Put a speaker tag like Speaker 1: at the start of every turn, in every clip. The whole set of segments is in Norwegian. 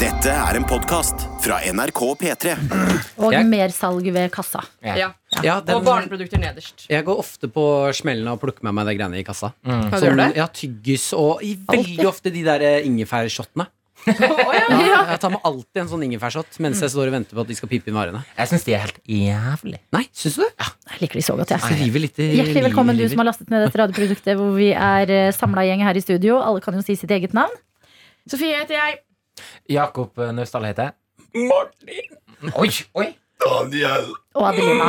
Speaker 1: Dette er en podkast fra NRK P3.
Speaker 2: Og
Speaker 3: Jeg-
Speaker 2: mersalg ved kassa.
Speaker 3: Ja.
Speaker 4: Ja.
Speaker 3: Ja, den-
Speaker 4: Og barneprodukter nederst.
Speaker 3: Jeg går ofte på smellen av å plukke med meg det greiene i kassa.
Speaker 4: Hva
Speaker 3: Sånn,
Speaker 4: gjør du?
Speaker 3: ja, Tyggis og i, veldig ofte de der eh, ingefærshotene.
Speaker 4: Å, ja.
Speaker 3: Ja, jeg tar med alltid en sånn ingefærshot mens jeg står og venter på at de skal pipe inn varene.
Speaker 5: Jeg syns de er helt jævlig.
Speaker 3: Nei, syns du det? Ja,
Speaker 2: Jeg liker de så godt, jeg.
Speaker 3: River litt i
Speaker 2: Hjertelig velkommen, du
Speaker 3: livet.
Speaker 2: som har lastet ned dette radioproduktet hvor vi er samla gjeng her i studio. Alle kan jo si sitt eget navn.
Speaker 4: Sofie heter jeg.
Speaker 5: Jakob eh, Naustdal heter jeg. Martin. Oi, oi.
Speaker 2: Og Adelina.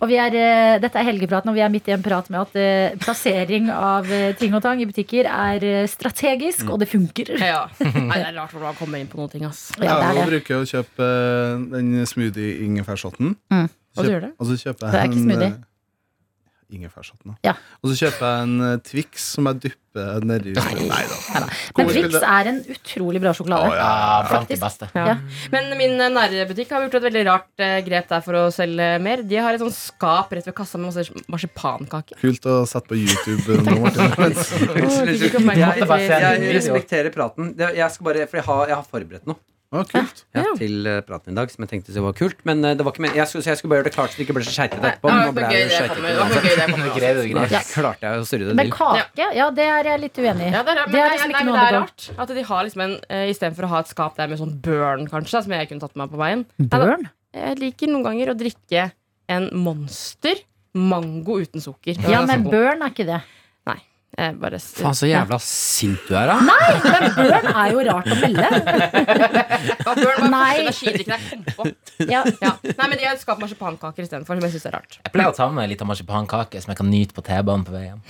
Speaker 2: Og vi er, eh, dette er helgepraten, og vi er midt i en prat med at eh, plassering av eh, ting og tang i butikker er eh, strategisk, og det funker.
Speaker 4: Ja. Nei, det er rart hvordan man kommer inn på noen ting. Ass.
Speaker 2: Ja, det
Speaker 6: jeg
Speaker 2: er det.
Speaker 6: bruker jeg å kjøpe eh, den smoothie-ingefærsotten.
Speaker 2: Mm.
Speaker 4: Hva
Speaker 6: Kjøp-
Speaker 4: gjør du?
Speaker 6: Og så kjøper jeg
Speaker 2: Det er ikke
Speaker 6: en,
Speaker 2: smoothie.
Speaker 6: eh, Ingefærsotten, da.
Speaker 2: Ja.
Speaker 6: Og så kjøper jeg en eh, Twix som jeg dypper nedi Nei da.
Speaker 2: Men Twix er en utrolig bra sjokolade.
Speaker 5: Ja, blant de
Speaker 2: Faktisk.
Speaker 5: beste.
Speaker 2: Ja.
Speaker 4: Men min eh, nærbutikk har gjort et veldig rart eh, grep der for å selge mer. De har et sånt skap rett ved kassa med masse marsipankaker.
Speaker 6: Kult å sette på YouTube nå, Martin.
Speaker 4: Åh, de fikk oppmerksomhet.
Speaker 5: Ja, bare se.
Speaker 3: Jeg respekterer praten. Det- Jeg skal bare, for jeg har, jeg har forberedt noe
Speaker 6: Å, kult.
Speaker 3: ja,
Speaker 4: Ja.
Speaker 3: til eh, praten i dag som jeg tenkte så var kult. Men eh, det var ikke men jeg, skulle, så jeg skulle bare gjøre det klart så det ikke ble så skeitete
Speaker 4: Nei, det
Speaker 3: etterpå. men
Speaker 4: var
Speaker 3: nå
Speaker 4: for
Speaker 3: ble
Speaker 4: gøy
Speaker 3: det jo
Speaker 4: det kommer.
Speaker 3: skeitete
Speaker 4: Det var for gøy det kommer.
Speaker 5: Du greier det, du
Speaker 3: uansett. Da
Speaker 5: greier.
Speaker 3: klarte jeg å surre det
Speaker 2: Men
Speaker 3: til.
Speaker 2: kake, ja, det er jeg litt uenig i.
Speaker 4: Ja, det er rart, men
Speaker 2: Det er
Speaker 4: nei,
Speaker 2: liksom ikke
Speaker 4: nei, men
Speaker 2: noe det
Speaker 4: det er
Speaker 2: går.
Speaker 4: rart at de har liksom en eh, Istedenfor å ha et skap der med sånn burn, kanskje, da, som jeg kunne tatt med meg på veien. Nei, da-
Speaker 2: Børn?
Speaker 4: Jeg liker noen ganger å drikke en monster mango uten sukker. Det var
Speaker 2: Ja,
Speaker 4: ganske
Speaker 2: men
Speaker 4: god.
Speaker 2: børn er ikke det.
Speaker 4: Jeg bare s-
Speaker 3: Faen, så jævla sint du er, da.
Speaker 2: Nei, men børn er jo rart å melde.
Speaker 4: Ja, Burn var
Speaker 2: Nei.
Speaker 4: første energidrikken jeg kom på.
Speaker 2: Ja,
Speaker 4: Ja. Nei, men de har skapt marsipankaker istedenfor, som jeg syns er rart.
Speaker 5: Jeg pleier å ta med meg litt av marsipankake som jeg kan nyte på T-banen på vei hjem.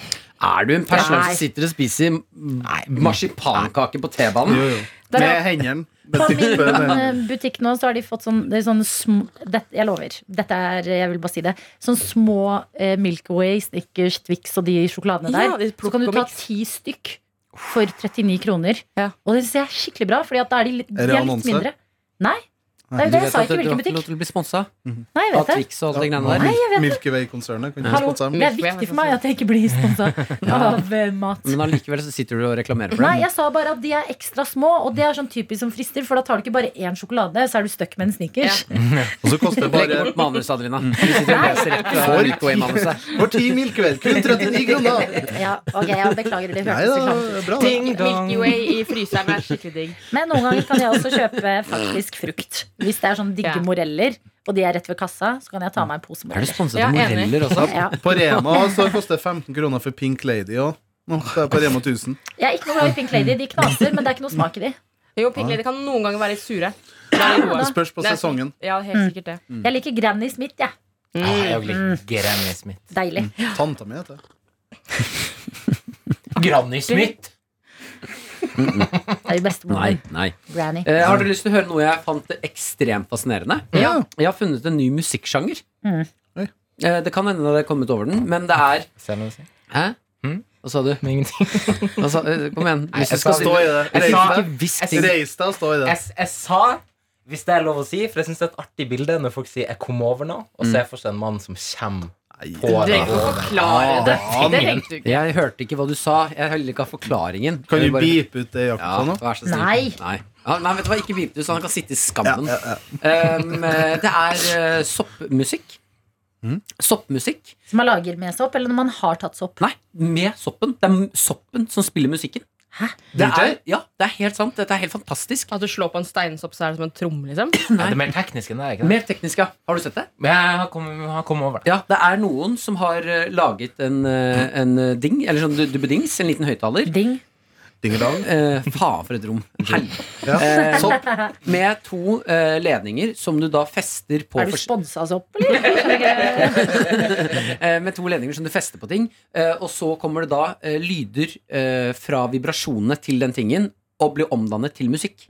Speaker 3: Er du en person
Speaker 2: Nei.
Speaker 3: som sitter og spiser marsipankake på T-banen?
Speaker 6: Jo, jo.
Speaker 4: Der,
Speaker 6: Med
Speaker 4: ja.
Speaker 6: hendene.
Speaker 2: På
Speaker 6: Med
Speaker 2: min
Speaker 6: dyppe ned.
Speaker 2: eh, butikk nå så har de fått sånn, det er sånn sm det, Jeg lover. Dette er, jeg vil bare si det. Sånn små eh, Milky Way, Snickers, Twix og de sjokoladene
Speaker 4: Ja,
Speaker 2: der.
Speaker 4: de
Speaker 2: Så kan du ta
Speaker 4: plukker og mix.
Speaker 2: ti stykk for 39 kroner.
Speaker 4: Ja.
Speaker 2: Og det syns jeg er skikkelig bra, for da er de litt,
Speaker 6: Er det
Speaker 2: de er litt
Speaker 6: annonse?
Speaker 2: mindre. Nei. Det, er jo
Speaker 3: Du
Speaker 2: det, jeg
Speaker 3: vet
Speaker 2: sa
Speaker 3: at
Speaker 2: ikke
Speaker 3: du-
Speaker 2: hvilken
Speaker 3: du har ikke lov
Speaker 2: butikk.
Speaker 3: til å bli sponsa
Speaker 2: Nei, jeg vet
Speaker 3: av
Speaker 2: det.
Speaker 3: Twix og alt det greiene der.
Speaker 2: Nei, jeg vet det.
Speaker 6: Milky Way-konsernet kan ikke
Speaker 2: Hallo,
Speaker 6: sponse dem.
Speaker 2: det er viktig for meg at jeg ikke blir sponsa av eh, mat.
Speaker 3: Men allikevel så sitter du og reklamerer for
Speaker 2: Nei,
Speaker 3: dem.
Speaker 2: jeg sa bare at de er ekstra små, og det er sånn typisk som frister, for da tar du ikke bare én sjokolade, så er du stuck med en Snickers.
Speaker 6: Og så koster det
Speaker 3: Legg
Speaker 6: bare
Speaker 3: bort manuset, Adelina. Du sitter og leser rett fra
Speaker 6: For-
Speaker 3: Milky Way-manuset.
Speaker 6: For ti Milky Way, kun 39 kroner!
Speaker 2: Ja, ok, jeg beklager, det
Speaker 6: Nei
Speaker 2: hørtes
Speaker 6: da,
Speaker 2: litt sånn ut.
Speaker 6: bra det.
Speaker 4: Milky Way i fryseren er skikkelig digg.
Speaker 2: Men noen ganger kan jeg også kjøpe faktisk frukt. Hvis det er sånn digge
Speaker 4: Ja.
Speaker 2: moreller, og de er rett ved kassa, så kan jeg ta meg en pose
Speaker 3: Mm. Er du
Speaker 2: moreller.
Speaker 3: sponset
Speaker 4: Ja,
Speaker 3: av
Speaker 4: enig.
Speaker 3: moreller også?
Speaker 2: Ja.
Speaker 6: På Rema så koster det 15 kroner for Pink Lady òg. Det er på Rema 1000.
Speaker 2: Jeg er ikke noe glad i Pink Lady. De knaser, men det er ikke noe smak i de.
Speaker 4: Jo, Pink Lady kan noen ganger være litt sure. Da er de
Speaker 6: Det
Speaker 4: gode.
Speaker 6: spørs på
Speaker 4: Det er-
Speaker 6: sesongen.
Speaker 4: Ja, helt sikkert det.
Speaker 3: Mm.
Speaker 2: Jeg liker Granny Smith, jeg.
Speaker 5: Ah, jeg er jo litt Granny Smith.
Speaker 2: Ja. Deilig.
Speaker 3: Mm.
Speaker 6: Tanta mi heter det.
Speaker 5: Granny
Speaker 2: Det
Speaker 5: Smith!
Speaker 2: er jo
Speaker 3: Nei,
Speaker 2: bestemoren.
Speaker 3: nei.
Speaker 2: Granny.
Speaker 3: Eh, har dere lyst til å høre noe jeg fant ekstremt fascinerende?
Speaker 4: Ja.
Speaker 3: Jeg har funnet en ny musikksjanger.
Speaker 2: Mm.
Speaker 6: Oi.
Speaker 3: Eh, det kan hende det er kommet over den, men det er
Speaker 5: Ser du noe sånt?
Speaker 3: Hæ?
Speaker 5: Mm.
Speaker 3: Hva sa du?
Speaker 5: Men Ingenting.
Speaker 3: Hva sa, eh, kom igjen.
Speaker 5: Nei,
Speaker 3: Hvis du
Speaker 5: jeg
Speaker 3: skal
Speaker 5: sa-
Speaker 3: stå
Speaker 6: Stå i det.
Speaker 3: Jeg
Speaker 6: Reis
Speaker 3: sa
Speaker 6: deg.
Speaker 3: ikke hvis
Speaker 5: Jeg
Speaker 3: ting.
Speaker 6: Reis deg og stå i det.
Speaker 5: Jeg, jeg sa, hvis det er lov å si, for jeg syns det er et artig bilde når folk sier 'jeg kom over nå', og så er jeg fortsatt en mann som kommer på
Speaker 4: Du trenger
Speaker 5: deg.
Speaker 4: ikke å forklare det. Det trengte du ikke.
Speaker 3: Jeg hørte ikke hva du sa. Jeg hører ikke av forklaringen.
Speaker 6: Kan
Speaker 3: Jeg
Speaker 6: du
Speaker 3: bare-
Speaker 6: beepe ut det
Speaker 3: Ja,
Speaker 6: jakta nå?
Speaker 3: vær så snill.
Speaker 2: Nei.
Speaker 3: Nei. Ja, nei, vet du hva, ikke beep du, så han kan sitte i skammen. Um, eh, det er eh, soppmusikk.
Speaker 6: Mm.
Speaker 3: Soppmusikk.
Speaker 2: Som man lager med sopp, eller når man har tatt sopp.
Speaker 3: Nei, med soppen. Det er m- soppen som spiller musikken. Det er, ja, det er helt sant. Dette er helt fantastisk.
Speaker 4: At du slår på en steinsopp, så er det som en tromme, liksom.
Speaker 5: Ja, det er mer teknisk enn det, er ikke det?
Speaker 3: Mer teknisk, ja. Har du sett det?
Speaker 5: Men jeg har kommet, har kommet over det.
Speaker 3: Ja, det er noen som har eh, laget en, eh, en eh, ding, eller sånn du- dubbedings, en liten høyttaler.
Speaker 2: Ding.
Speaker 6: Dingedang.
Speaker 3: Eh, faen for et rom. Helvete.
Speaker 6: Ja.
Speaker 3: Eh,
Speaker 6: Sopp.
Speaker 3: Med to eh, ledninger som du da fester på
Speaker 2: Er du
Speaker 3: fors-
Speaker 2: sponsa av sopp, eller?
Speaker 3: eh, med to ledninger som du fester på ting. Eh, og så kommer det da eh, lyder eh, fra vibrasjonene til den tingen og blir omdannet til musikk.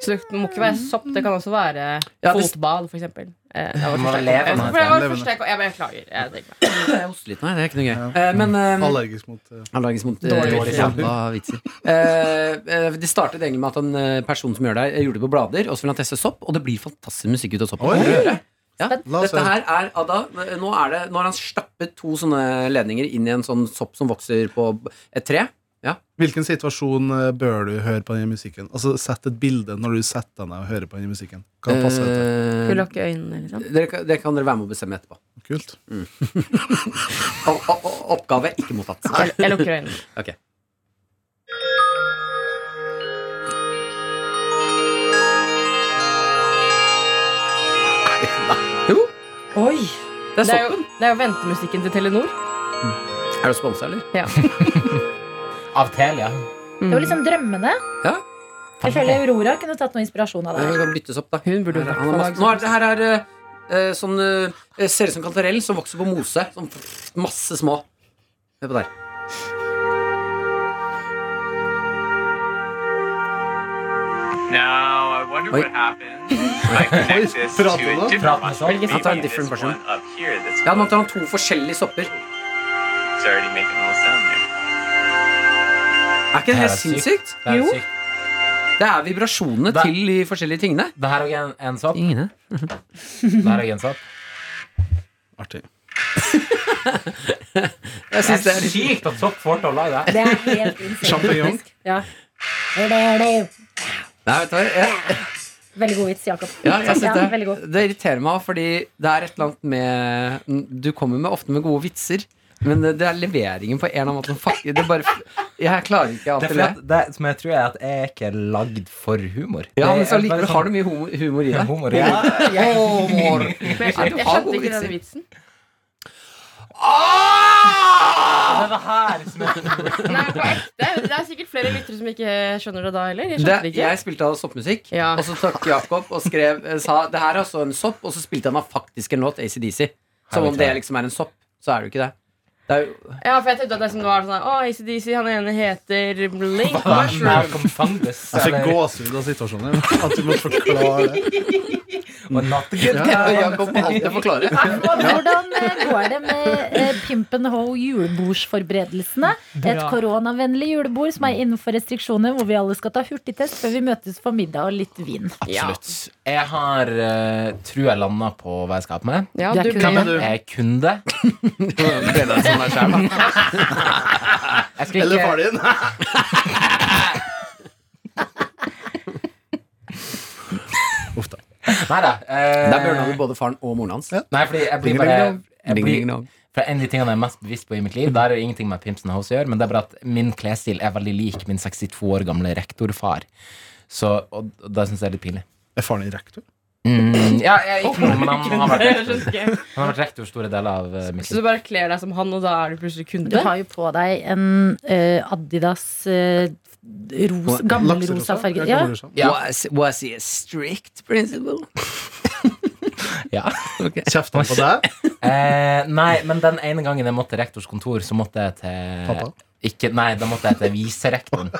Speaker 4: Så det må ikke være sopp. Det kan også være
Speaker 3: Ja, det-
Speaker 4: fotball, for eksempel. Eh, det var
Speaker 5: må
Speaker 4: første jeg
Speaker 5: leve
Speaker 4: kom-
Speaker 5: med
Speaker 4: For det var
Speaker 6: det.
Speaker 4: første jeg kom- Jeg beklager. Jeg tenker meg.
Speaker 3: Jeg hoster litt nå, det er ikke noe gøy. Eh, men eh,
Speaker 6: Allergisk mot eh,
Speaker 3: Allergisk mot eh,
Speaker 4: Dårlig
Speaker 3: dårlig
Speaker 6: vitser.
Speaker 3: jævla vitser. Eh, eh, det startet egentlig med at en eh, person som gjør det, her, gjorde det på blader, og så vil han teste sopp, og det blir fantastisk musikk ut av sopp.
Speaker 6: Oi. altså.
Speaker 3: Ja,
Speaker 6: La oss
Speaker 3: dette her er Ada, nå, er det, nå har han stappet to sånne ledninger inn i en sånn sopp som vokser på et tre. Ja.
Speaker 6: Hvilken situasjon eh, bør du høre på denne musikken? Altså, Sett et bilde når du setter deg ned og hører på denne musikken. Hva passer etter?
Speaker 3: Eh,
Speaker 4: Du lukker øynene, liksom.
Speaker 3: dere, kan- det kan dere være med å bestemme etterpå.
Speaker 6: Kult.
Speaker 3: O- o- o- Oppgave ikke mottatt.
Speaker 4: Jeg, jeg lukker øynene.
Speaker 3: Ok. Jo. Oi! Det er
Speaker 4: Det er, jo,
Speaker 3: soppen.
Speaker 4: det er jo ventemusikken til Telenor.
Speaker 3: Er du sponsa, eller?
Speaker 5: Av Telia.
Speaker 2: Det var liksom drømmene.
Speaker 3: Ja.
Speaker 2: Jeg føler Aurora kunne tatt noe inspirasjon av
Speaker 3: Vi
Speaker 2: det.
Speaker 3: kan byttes opp, da.
Speaker 4: Hun burde
Speaker 3: Her
Speaker 4: vært
Speaker 3: er
Speaker 4: på
Speaker 3: ananas.
Speaker 4: lag.
Speaker 3: Nå er det her er eh, sånn eh, Ser ut som kantarell som vokser på mose. Sånn pff, masse små. Hør på der.
Speaker 7: Now I wonder
Speaker 3: Wait.
Speaker 7: what happens. if I connect this to a
Speaker 6: Prato, though.
Speaker 7: different
Speaker 5: Prato,
Speaker 7: one.
Speaker 5: so-
Speaker 7: Maybe
Speaker 3: I'll try a
Speaker 7: this
Speaker 3: different version.
Speaker 7: one up here that's
Speaker 3: Ja, nå tar han to forskjellige sopper.
Speaker 7: it's already making a little sound there.
Speaker 3: Er ikke det
Speaker 5: Det er
Speaker 3: helt
Speaker 5: sykt.
Speaker 3: sinnssykt?
Speaker 5: Det er
Speaker 4: Jo.
Speaker 5: sykt.
Speaker 3: Det er vibrasjonene
Speaker 5: Hva?
Speaker 3: til de forskjellige tingene.
Speaker 5: Det her er også en, en sopp.
Speaker 3: Tingene?
Speaker 5: Det her er også en sopp.
Speaker 6: Artig.
Speaker 3: Jeg synes det
Speaker 5: Det er
Speaker 3: er litt
Speaker 5: sykt at sopp får til å lage det.
Speaker 2: Det er helt
Speaker 6: Champignon.
Speaker 2: insane. Ja. Det er det.
Speaker 3: Nei, vet du hva? Jeg,
Speaker 2: Veldig god vits, Jakob.
Speaker 3: ja, jeg synes
Speaker 2: Ja,
Speaker 3: det,
Speaker 2: veldig god.
Speaker 3: det irriterer meg, fordi det er et eller annet med Du kommer med, ofte med gode vitser, men det er leveringen på en eller annen måte som fucker Det er bare Jeg klarer ikke
Speaker 5: Det,
Speaker 3: alltid
Speaker 5: er
Speaker 3: det.
Speaker 5: fordi at det som jeg tror er at jeg er ikke lagd for humor.
Speaker 3: Ja, men
Speaker 5: Det
Speaker 3: så
Speaker 5: er
Speaker 3: likevel
Speaker 5: bare
Speaker 3: har du mye humor, humor i
Speaker 5: sånn-
Speaker 3: deg.
Speaker 5: humor. Ja.
Speaker 3: sånn- Humor.
Speaker 4: Men
Speaker 3: Nei,
Speaker 4: jeg
Speaker 3: du
Speaker 4: skjønte, jeg
Speaker 3: har
Speaker 4: skjønte
Speaker 3: gode
Speaker 4: ikke denne
Speaker 3: vitser.
Speaker 4: vitsen.
Speaker 5: Det er det her som er
Speaker 4: Nei, på ekte. Det er sikkert flere lyttere som ikke skjønner det da heller. Jeg
Speaker 3: Det,
Speaker 4: skjønte det ikke.
Speaker 3: jeg spilte av soppmusikk,
Speaker 4: Ja.
Speaker 3: og så takk Jakob og skrev eh, sa, Det her er altså en sopp, og så spilte han av faktisk en låt, ACDC. Som om det liksom er en sopp. Så er det jo ikke det. det er jo,
Speaker 4: Ja, for jeg tenkte at det som var sånn Å, ACDC, han ene heter Blink Mushroom.
Speaker 5: Malcolm Fungus.
Speaker 6: Jeg fikk
Speaker 5: eller-
Speaker 6: gåsehud av situasjonen. At du måtte forklare det.
Speaker 5: Og Not Good.
Speaker 3: det er jo Jakob alltid forklare.
Speaker 2: Hvordan eh, går det med eh, Pimpen Ho julebordsforberedelsene? Et
Speaker 4: Bra.
Speaker 2: koronavennlig julebord som er innenfor restriksjoner, hvor vi alle skal ta hurtigtest før vi møtes for middag og litt vin.
Speaker 5: Absolutt. Jeg har eh, tror jeg landa på hva jeg skal ha på meg.
Speaker 4: Ja,
Speaker 2: Du er
Speaker 4: du
Speaker 2: ikke
Speaker 4: ble
Speaker 2: gammel,
Speaker 6: du.
Speaker 5: Jeg er kunde.
Speaker 3: Det er sånn det skjer, da.
Speaker 5: Jeg skal
Speaker 6: Eller
Speaker 5: ikke,
Speaker 6: far din. Uff da.
Speaker 5: Neida, eh,
Speaker 3: Der bjørna vi både faren og moren hans.
Speaker 5: Nei, fordi jeg blir bare jeg blir,
Speaker 3: Ding-ding-dong.
Speaker 5: For En av de tingene jeg er mest bevisst på i mitt liv, Det er jo ingenting med Pimps and Hoes å gjøre, men det er bare at min klesstil er veldig lik min 62 år gamle rektorfar. Så, og, og det syns jeg er litt pinlig.
Speaker 6: Er faren din rektor?
Speaker 5: Mm, ja, jeg, ikke noe, men han har vært
Speaker 4: Jeg
Speaker 5: rektor,
Speaker 4: skjønte ikke.
Speaker 5: han har vært rektor store deler av eh, mitt
Speaker 4: Så du
Speaker 5: liv.
Speaker 4: bare kler deg som han, og da er du plutselig
Speaker 2: Du
Speaker 4: kunde?
Speaker 2: har jo på deg en eh, Adidas eh, ros, gammelrosa farge. Ja,
Speaker 6: Gammelrosa.
Speaker 5: Ja.
Speaker 3: Was, was he a strict principal?
Speaker 5: Ja.
Speaker 6: Kjefter han på deg?
Speaker 5: Eh, nei, men den ene gangen jeg måtte til rektors kontor, så måtte jeg til
Speaker 6: Pappa?
Speaker 5: Ikke, nei, da måtte jeg til viserektoren.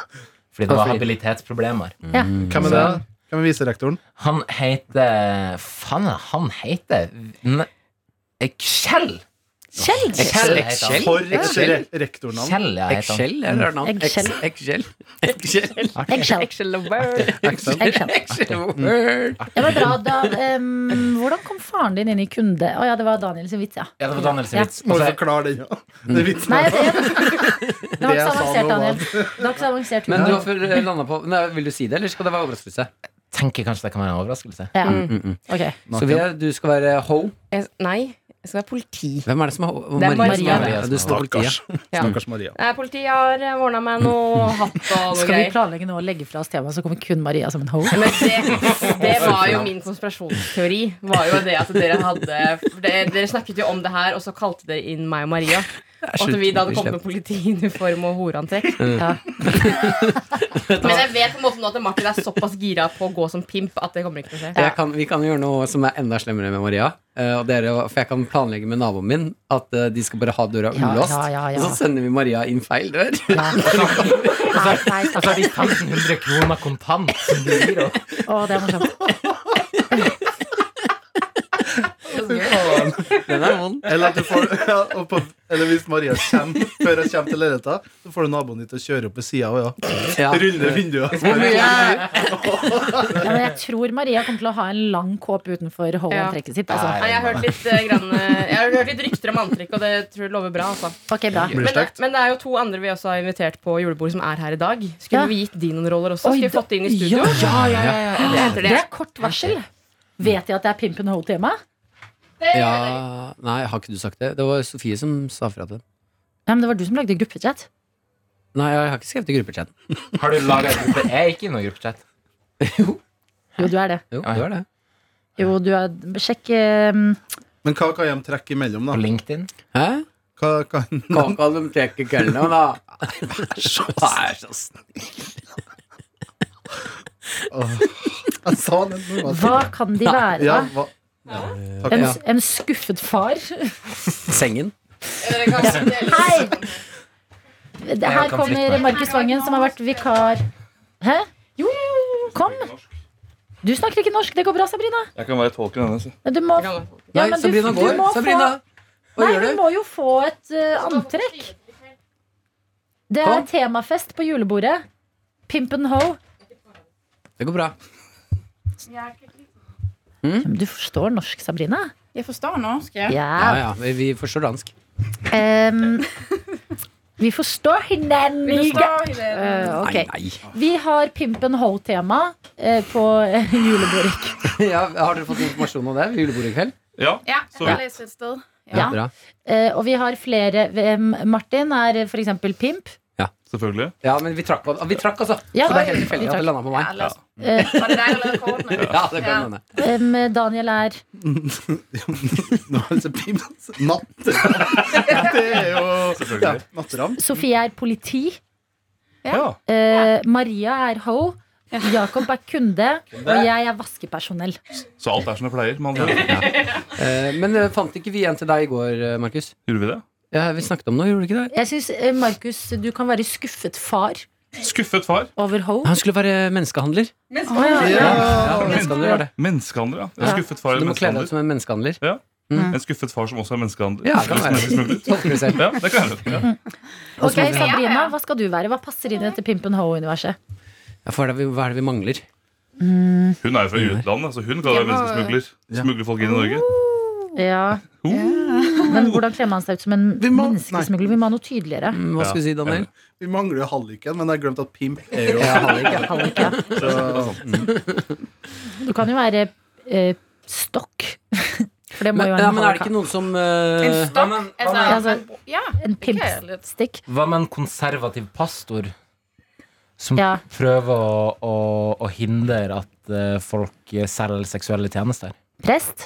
Speaker 5: Fordi det var habilitetsproblemer.
Speaker 2: ja.
Speaker 6: Hvem er det? Hvem er viserektoren?
Speaker 5: Han heter Faen, han heter ne, eh, Kjell!
Speaker 2: Kjell!
Speaker 5: Kjell heter
Speaker 3: Ekskjell?
Speaker 5: han.
Speaker 6: For
Speaker 3: Ekskjell?
Speaker 6: re- rektornavn.
Speaker 5: Kjell, ja, heter han.
Speaker 3: Ekskjell, eller er det navn?
Speaker 2: Eggskjell.
Speaker 3: Eks- Eggskjell. Eggskjell.
Speaker 2: Eggshell.
Speaker 4: Action-lover.
Speaker 6: Ekskjell.
Speaker 2: Eggshell.
Speaker 3: Eggskjell.
Speaker 2: Det var bra. Da, em, hvordan kom faren din inn i kunde... Å ja, det var Daniels vits, ja.
Speaker 5: Ja, det var Daniels
Speaker 2: Ja.
Speaker 5: vits.
Speaker 6: Må du
Speaker 5: Altså,
Speaker 6: forklare den, ja? Det er vitsen.
Speaker 2: Nei, det, det var
Speaker 6: Det
Speaker 2: ikke
Speaker 6: jeg
Speaker 2: så
Speaker 6: sa
Speaker 2: avansert,
Speaker 6: nå var-
Speaker 2: Daniel. Det var ikke så avansert.
Speaker 3: Men du har før landa på nei, Vil du si det, eller skal det være overraskelse?
Speaker 5: tenker kanskje det kan være en overraskelse.
Speaker 2: Ja.
Speaker 3: mm.
Speaker 2: Ok.
Speaker 3: Så vi er, du skal være ho.
Speaker 4: Jeg- Nei, jeg skal være politi.
Speaker 3: Hvem er det som er ho?
Speaker 4: Det er Maria.
Speaker 3: Maria. Du står på
Speaker 6: Stakkars.
Speaker 3: tida.
Speaker 4: Ja.
Speaker 6: Stakkars Maria.
Speaker 4: Nei, Politiet har ordna meg noe hatt og noe
Speaker 2: Skal vi
Speaker 4: greier.
Speaker 2: planlegge nå å legge fra oss temaet, så kommer kun Maria som en ho?
Speaker 4: Men det, det var jo min konspirasjonsteori. Var jo det at Dere hadde for det, Dere snakket jo om det her, og så kalte dere inn meg og Maria. Og at vi da hadde kommet med politiuniform og horeantrekk.
Speaker 2: Ja.
Speaker 4: Men jeg vet på en måte nå at Martin er såpass gira på å gå som pimp at det kommer ikke til å skje.
Speaker 3: Jeg kan, vi kan gjøre noe som er enda slemmere med Maria. eh, og dere, for jeg kan planlegge med naboen min at eh, de skal bare ha døra
Speaker 2: Ja,
Speaker 3: ulåst.
Speaker 2: ja, ja, ja.
Speaker 3: Og så sender vi Maria inn feil dør.
Speaker 5: Altså,
Speaker 2: Nei, nei,
Speaker 5: Og så har
Speaker 2: takk.
Speaker 5: de 1500 kroner kontant som du gir henne.
Speaker 2: Å, det er morsomt.
Speaker 4: Det er så gøy.
Speaker 3: Den er vond.
Speaker 6: Eller, at du får, ja, og på, eller hvis Maria kommer før hun kommer til leiligheta, så får du naboen din til å kjøre opp ved sida òg, ja.
Speaker 3: Ja.
Speaker 6: Rulle vinduet.
Speaker 3: Hvor mye er
Speaker 2: Ja, men jeg tror Maria kommer til å ha en lang kåp utenfor
Speaker 4: Ja.
Speaker 2: Holland-trekket sitt. Altså.
Speaker 5: Nei.
Speaker 4: Nei, jeg har hørt litt, eh, grann, eh, jeg har hørt litt rykter om antrekk, og det tror jeg lover bra. Altså.
Speaker 2: Ok, bra.
Speaker 6: Blir
Speaker 4: Men,
Speaker 6: det sterkt?
Speaker 4: men det er jo to andre vi også har invitert på julebord, som er her i dag. Skulle
Speaker 2: Ja.
Speaker 4: vi gitt de noen roller
Speaker 2: Oi,
Speaker 4: også? Skulle vi
Speaker 2: da-
Speaker 4: fått de inn i studio?
Speaker 3: Ja, ja, ja, ja.
Speaker 4: Eller heter
Speaker 2: Det
Speaker 4: det?
Speaker 2: er kort varsel. Vet de at det er Pimpen Ho tema?
Speaker 3: ja. Nei, har ikke du sagt det? Det var Sofie som sa fra til det.
Speaker 2: Nei, men det var du som lagde gruppechat.
Speaker 3: Nei, jeg har ikke skrevet i gruppechatten.
Speaker 5: Har du laget en gruppe? Jeg er ikke i noen gruppechat.
Speaker 2: Jo, du er det.
Speaker 3: Jo, det var det.
Speaker 2: Jo, du er Sjekk eh,
Speaker 6: Men hva kan de trekke imellom,
Speaker 5: På
Speaker 6: da?
Speaker 5: LinkedIn.
Speaker 3: Hæ?
Speaker 6: Hva kan
Speaker 3: Kaka de trekker køllene, da. Vær så snill.
Speaker 6: Åh, Jeg sa det nå. hva-
Speaker 2: Hva kan de være,
Speaker 6: Ja,
Speaker 2: da?
Speaker 6: hva? Ja, takk.
Speaker 2: En,
Speaker 3: Ja.
Speaker 2: en skuffet far?
Speaker 3: Sengen.
Speaker 4: Eh,
Speaker 2: Hei!
Speaker 5: Jeg
Speaker 2: Her
Speaker 5: kan flytte
Speaker 2: kommer
Speaker 5: meg.
Speaker 2: Markus Vangen, som har vært vikar. Hæ? Jo, jo, jo. Kom. Du snakker ikke norsk. Det går bra, Sabrina.
Speaker 8: Jeg kan være tolken hennes.
Speaker 2: Du må,
Speaker 4: Kan man-
Speaker 2: ja,
Speaker 3: Nei,
Speaker 2: men du,
Speaker 3: Sabrina
Speaker 2: du
Speaker 3: går.
Speaker 2: må
Speaker 3: Sabrina!
Speaker 2: få,
Speaker 3: Hva
Speaker 2: nei,
Speaker 3: gjør
Speaker 2: du
Speaker 3: du?
Speaker 2: må jo få et eh, antrekk. Det er
Speaker 3: Kom.
Speaker 2: temafest på julebordet. Pimpen ho.
Speaker 3: Det går bra.
Speaker 2: Du forstår norsk, Sabrina.
Speaker 9: Jeg forstår norsk, jeg.
Speaker 3: Ja,
Speaker 2: Ja.
Speaker 3: ja, vi- vi forstår dansk.
Speaker 2: Em, vi forstår hinanden.
Speaker 9: Vi forstår i det.
Speaker 2: Eh, ok.
Speaker 3: Nei, nei.
Speaker 2: Vi har Pimpen ho-tema eh, på eh, julebordet.
Speaker 3: Ja, har dere fått informasjon om det? ved Julebordet i kveld?
Speaker 8: Ja,
Speaker 9: Ja,
Speaker 8: Så-
Speaker 9: jeg leser et sted.
Speaker 2: Ja.
Speaker 3: Bra.
Speaker 2: Eh, og vi har flere. Hvem- Martin er f.eks. pimp.
Speaker 8: selvfølgelig.
Speaker 3: Ja, men vi trakk, vi trakk altså.
Speaker 2: Ja,
Speaker 3: så det er helt
Speaker 2: vi
Speaker 3: tilfeldig
Speaker 2: trakk.
Speaker 3: at det landa på meg.
Speaker 9: Ja, leser.
Speaker 2: Eh,
Speaker 9: Var det deg eller rekordene?
Speaker 3: Ja, det kan
Speaker 9: Ja.
Speaker 3: hende.
Speaker 2: Em, Daniel er
Speaker 6: Nå er det så pimens. Natt. Det er jo ja,
Speaker 8: Selvfølgelig.
Speaker 6: Nattram.
Speaker 2: Sofie er politi.
Speaker 8: Ja.
Speaker 2: Eh, Maria er ho. Jakob er kunde. Og jeg er vaskepersonell.
Speaker 8: Så alt er som det pleier. Man, gjør.
Speaker 3: Eh, men eh, fant ikke vi en til deg i går, eh, Markus?
Speaker 8: Gjorde vi det?
Speaker 3: Ja, vi snakket om noe, gjorde vi ikke det?
Speaker 2: Jeg syns eh, Markus, du kan være skuffet far
Speaker 8: Skuffet far.
Speaker 2: over ho.
Speaker 3: Han skulle være menneskehandler. Ja, menneskehandler var det.
Speaker 8: Menneskehandler, ja. En
Speaker 2: Ja.
Speaker 8: skuffet far
Speaker 3: Du
Speaker 8: eller
Speaker 3: må kle deg ut
Speaker 8: menneskehandler.
Speaker 3: som en menneskehandler.
Speaker 8: En skuffet far som også er menneskehandler.
Speaker 3: Ja, det kan være.
Speaker 8: Som er smuglet.
Speaker 3: Tolker du selv.
Speaker 8: Ja, det kan hende. Ja.
Speaker 2: Ok, Sabrina, hva skal du være? Hva passer inn i dette pimpen ho-universet?
Speaker 3: Ja, for hva er det vi- hva er det vi mangler?
Speaker 8: Hun er jo fra utlandet, så hun kan være
Speaker 9: Jeg må-
Speaker 8: menneskesmugler.
Speaker 6: Ja.
Speaker 8: Smugler folk inn i Norge.
Speaker 2: Ja,
Speaker 8: Uh,
Speaker 2: Men hvordan kler man seg ut som en
Speaker 6: Vi må-
Speaker 2: menneskesmugler? Vi må ha noe tydeligere.
Speaker 3: Mm, Hva skulle du si, Daniel?
Speaker 6: Vi mangler jo halliken, men jeg har glemt at pimp er jo
Speaker 3: Ja, hallik, ja.
Speaker 2: Hallik, ja.
Speaker 6: så,
Speaker 2: Du kan jo være eh, stokk. For det må
Speaker 3: Men,
Speaker 2: jo
Speaker 3: ja,
Speaker 2: en,
Speaker 3: men er det ikke noen som eh,
Speaker 9: En stokk?
Speaker 5: men-
Speaker 9: Altså,
Speaker 2: Altså-
Speaker 9: ja.
Speaker 2: en
Speaker 9: Ok, litt.
Speaker 2: pimpstikk.
Speaker 5: Hva med en konservativ pastor som
Speaker 2: Ja.
Speaker 5: prøver å, å, å hindre at eh, folk selger seksuelle tjenester?
Speaker 2: Prest.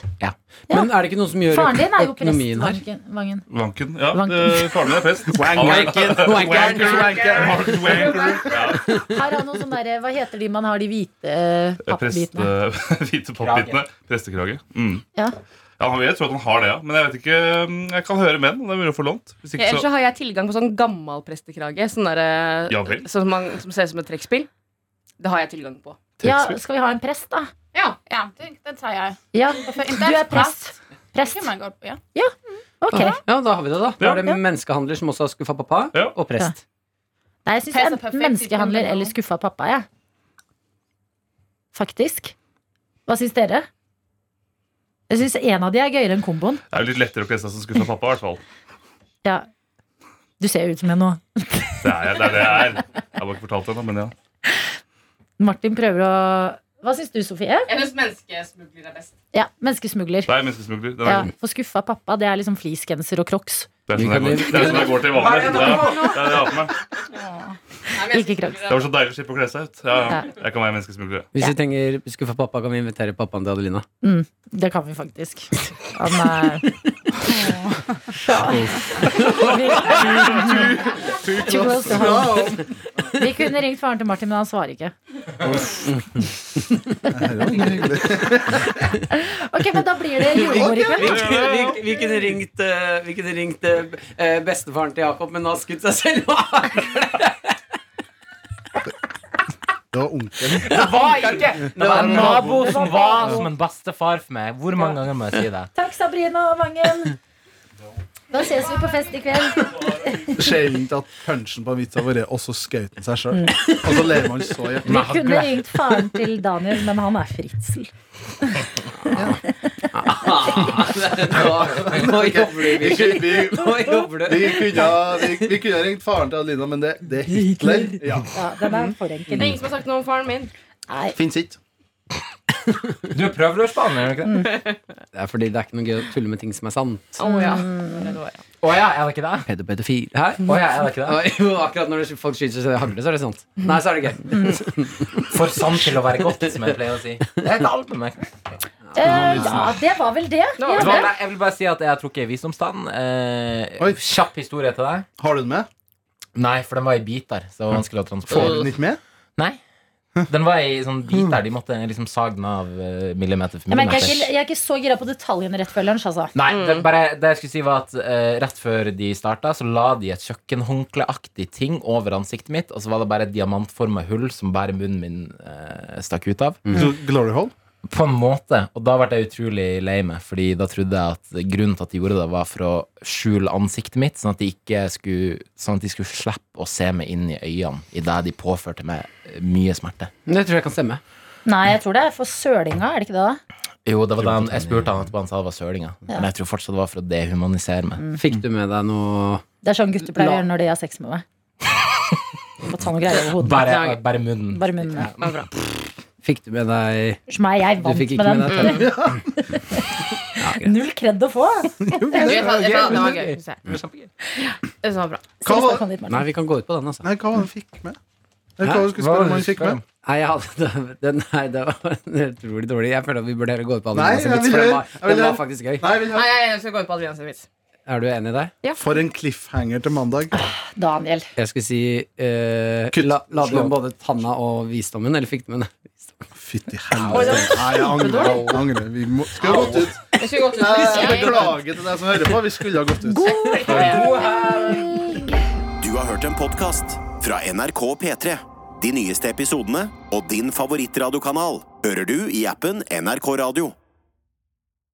Speaker 3: Men er det ikke noen som gjør
Speaker 2: Faren din er jo prest.
Speaker 3: økonomien her?
Speaker 2: Vangen. Vangen.
Speaker 8: Vanken. Ja,
Speaker 2: Vanken.
Speaker 8: det- faren min er prest.
Speaker 3: Wanker. Wanker.
Speaker 8: Mark Wanker. Ja.
Speaker 2: Her har noen sånne derre eh, Hva heter de man har de hvite eh,
Speaker 8: Prest, eh,
Speaker 2: pappbitene?
Speaker 8: hvite pappbitene. Prestekrage. Mm.
Speaker 2: Ja.
Speaker 8: Ja, han- jeg tror at han har det, ja. Men jeg vet ikke, mm, jeg kan høre med den. Det er mulig å få lånt. Hvis
Speaker 4: Ja,
Speaker 8: ikke
Speaker 4: ellers
Speaker 8: så
Speaker 4: så har jeg tilgang på sånn gammel prestekrage. Sånn der, eh,
Speaker 8: Ja vel.
Speaker 4: sånn som, man, som ser ut som et trekkspill. Det har jeg tilgang på.
Speaker 2: Ja, skal vi ha en prest, da?
Speaker 9: Ja, ja den, den tar jeg.
Speaker 2: Ja,
Speaker 9: Du
Speaker 2: du er prest. Prest.
Speaker 9: Kan man godt, ja. Mm.
Speaker 2: Ok.
Speaker 3: Ja, da har vi det, da. Da
Speaker 8: Ja.
Speaker 3: er det menneskehandler som også har skuffa pappa,
Speaker 8: Ja.
Speaker 3: og prest.
Speaker 2: Nei, jeg syns
Speaker 9: Prest er
Speaker 2: enten
Speaker 9: perfekt,
Speaker 2: menneskehandler
Speaker 9: ikke
Speaker 2: eller skuffa pappa, jeg. Faktisk. Hva syns dere? Jeg syns en av de er gøyere enn komboen.
Speaker 8: det er jo litt lettere å kle seg som skuffa pappa, i hvert fall.
Speaker 2: Ja. Du ser jo ut som en nå.
Speaker 8: Det er jeg- det er det jeg er. Jeg har bare ikke fortalt det ennå, men ja.
Speaker 2: Martin prøver å Hva syns du, Sofie?
Speaker 4: Jeg syns menneskesmugler er best.
Speaker 2: Ja, Menneskesmugler.
Speaker 8: Det er menneskesmugler. Den er
Speaker 2: Ja,
Speaker 8: god.
Speaker 2: for skuffa pappa, det er liksom fleecegenser og crocs.
Speaker 8: Det er sånn
Speaker 3: Vi kan
Speaker 8: jeg
Speaker 3: jo-
Speaker 8: går, det er sånn jeg går til vanlig. Det er, det er det jeg har på meg.
Speaker 2: Ikke crocs.
Speaker 8: Det var så deilig å slippe å kle seg ut. Ja, ja.
Speaker 2: Ja.
Speaker 8: Jeg kan være menneskesmugler.
Speaker 3: Hvis vi trenger skuffa pappa, kan vi invitere pappaen til Adelina.
Speaker 2: Det kan vi faktisk. Han er Too close to home. Vi kunne ringt faren til Martin, men han svarer ikke. Ok, men da blir det julebord i kveld.
Speaker 3: Vi kunne, vi, vi kunne ringt, eh, vi kunne ringt eh, eh, bestefaren til Jakob, men han har skutt seg selv.
Speaker 6: Det var onkelen.
Speaker 5: Det var ikke! Det var en nabo som var
Speaker 2: nabo.
Speaker 5: som en bestefar for meg. Hvor mange ganger må jeg si det?
Speaker 2: Takk, Sabrina og Vangen. Da ses vi på fest i kveld.
Speaker 6: Sjelden at punchen på en vits har vært Og så skjøt han seg sjøl. Og så ler man så hjertelig.
Speaker 2: Vi kunne ringt faren til Daniel, men han er fritsel.
Speaker 3: Nå, nå jobber du,
Speaker 6: Vi,
Speaker 3: Vichy.
Speaker 6: vi,
Speaker 3: Nå jobber du.
Speaker 6: vi, kunne, vi, vi kunne ha ringt faren til Adelina, men det, det er Hitler. Ja,
Speaker 2: Ja, den er for enkel.
Speaker 4: Det er ingen som har sagt noe om faren min.
Speaker 2: Nei.
Speaker 6: Fins ikke.
Speaker 5: Du er prøvelørsbaner, er du ikke det?
Speaker 3: Det er fordi det er ikke noe gøy å tulle med ting som er sant.
Speaker 4: Å ja.
Speaker 2: Mm.
Speaker 4: Det var, ja.
Speaker 5: Å ja, er det ikke det?
Speaker 3: Pedopedofil. Hæ?
Speaker 5: Å ja, er det ikke det?
Speaker 3: Ja, Jo, akkurat når det- folk skyter seg i hagle, så er det sant. Nei, så er det gøy.
Speaker 5: For sant til å være godt, som jeg pleier å si. Det er et album. Jeg.
Speaker 2: Eh, ja, det var vel det.
Speaker 4: Det var
Speaker 5: Vet
Speaker 4: vel
Speaker 5: du hva,
Speaker 4: det.
Speaker 5: nei, jeg vil bare si at jeg har trukket visdomstann. Eh,
Speaker 6: Oi.
Speaker 5: kjapp historie til deg.
Speaker 6: Har du den med?
Speaker 5: Nei, for den var i biter, så det var vanskelig å
Speaker 6: Får
Speaker 5: transportere.
Speaker 6: du den ikke med?
Speaker 5: Nei. Den var i sånn biter. De måtte liksom sage den av eh, millimeter for
Speaker 2: Jeg, merker, jeg, er
Speaker 5: millimeter.
Speaker 2: ikke, jeg er ikke så gira på detaljene rett før lunsj, altså.
Speaker 5: Nei, det, bare, det jeg skulle si var at eh, Rett før de starta, så la de et kjøkkenhåndkleaktig ting over ansiktet mitt, og så var det bare et diamantforma hull som bare munnen min eh, stakk ut av.
Speaker 6: Så Glory Hole?
Speaker 5: På en måte. Og da ble jeg utrolig lei meg, Fordi da trodde jeg at grunnen til at de gjorde det, var for å skjule ansiktet mitt, sånn at de ikke skulle Sånn at de skulle slippe å se meg inn i øynene idet de påførte meg eh, mye smerte.
Speaker 3: Det tror jeg kan stemme.
Speaker 2: Nei, jeg tror det er for sølinga, er det ikke det? da?
Speaker 5: Jo, det var da han, jeg spurte han etterpå, han sa det var sølinga. Men jeg tror fortsatt det var for å dehumanisere meg.
Speaker 3: Fikk du med deg noe
Speaker 2: Det er sånn gutter pleier å gjøre når de har sex med meg. Få ta noen greier over hodet.
Speaker 5: Bare, bare munnen.
Speaker 2: Bare munnen.
Speaker 4: Det var bra.
Speaker 3: Fikk du med deg
Speaker 2: Som er jeg
Speaker 3: Du
Speaker 2: vant
Speaker 3: fikk
Speaker 2: med
Speaker 3: ikke
Speaker 2: den.
Speaker 3: med deg tennene?
Speaker 2: Null kred å få.
Speaker 4: Jeg fant- jeg fant- Det var gøy. synes jeg. Det var bra.
Speaker 6: Hva
Speaker 2: Skal vi
Speaker 6: var
Speaker 2: snakke om det litt mer?
Speaker 3: Nei, vi kan gå ut på den, altså.
Speaker 6: Nei, hva var det han fikk med? Eller
Speaker 3: Hæ?
Speaker 6: Hva var det du skulle
Speaker 5: Hva var
Speaker 6: spørre
Speaker 5: det
Speaker 6: om
Speaker 5: du
Speaker 6: han fikk
Speaker 5: skulle
Speaker 6: med?
Speaker 3: Nei, jeg hadde, det, nei, det var utrolig dårlig. Jeg føler at vi burde heller gå ut på alle
Speaker 6: Nei,
Speaker 3: Jonas'
Speaker 6: jeg
Speaker 3: vits,
Speaker 6: vil
Speaker 3: for den
Speaker 6: høre.
Speaker 3: var,
Speaker 6: Jeg vil
Speaker 3: den var
Speaker 6: høre.
Speaker 3: faktisk gøy.
Speaker 6: Nei, jeg vil ha-
Speaker 4: Nei, jeg jeg skal gå ut på Adrian sin vits.
Speaker 3: Er du enig der?
Speaker 6: For en cliffhanger til mandag.
Speaker 2: Daniel.
Speaker 3: Jeg skulle si eh,
Speaker 6: Kutt.
Speaker 3: la, la du
Speaker 6: Slå.
Speaker 3: om både tanna og visdommen, eller fikk du med den?
Speaker 6: Fytti helvete. Nei, jeg angrer. Jeg angrer. Vi må, skulle ha gått ut.
Speaker 4: Jeg skal gå ut
Speaker 6: Nei, jeg
Speaker 4: Jeg-
Speaker 6: Beklager til deg som hører på. Vi skulle ha gått ut.
Speaker 1: Du har hørt en podcast fra NRK P3. De nyeste episodene og din favorittradiokanal hører du i appen NRK Radio.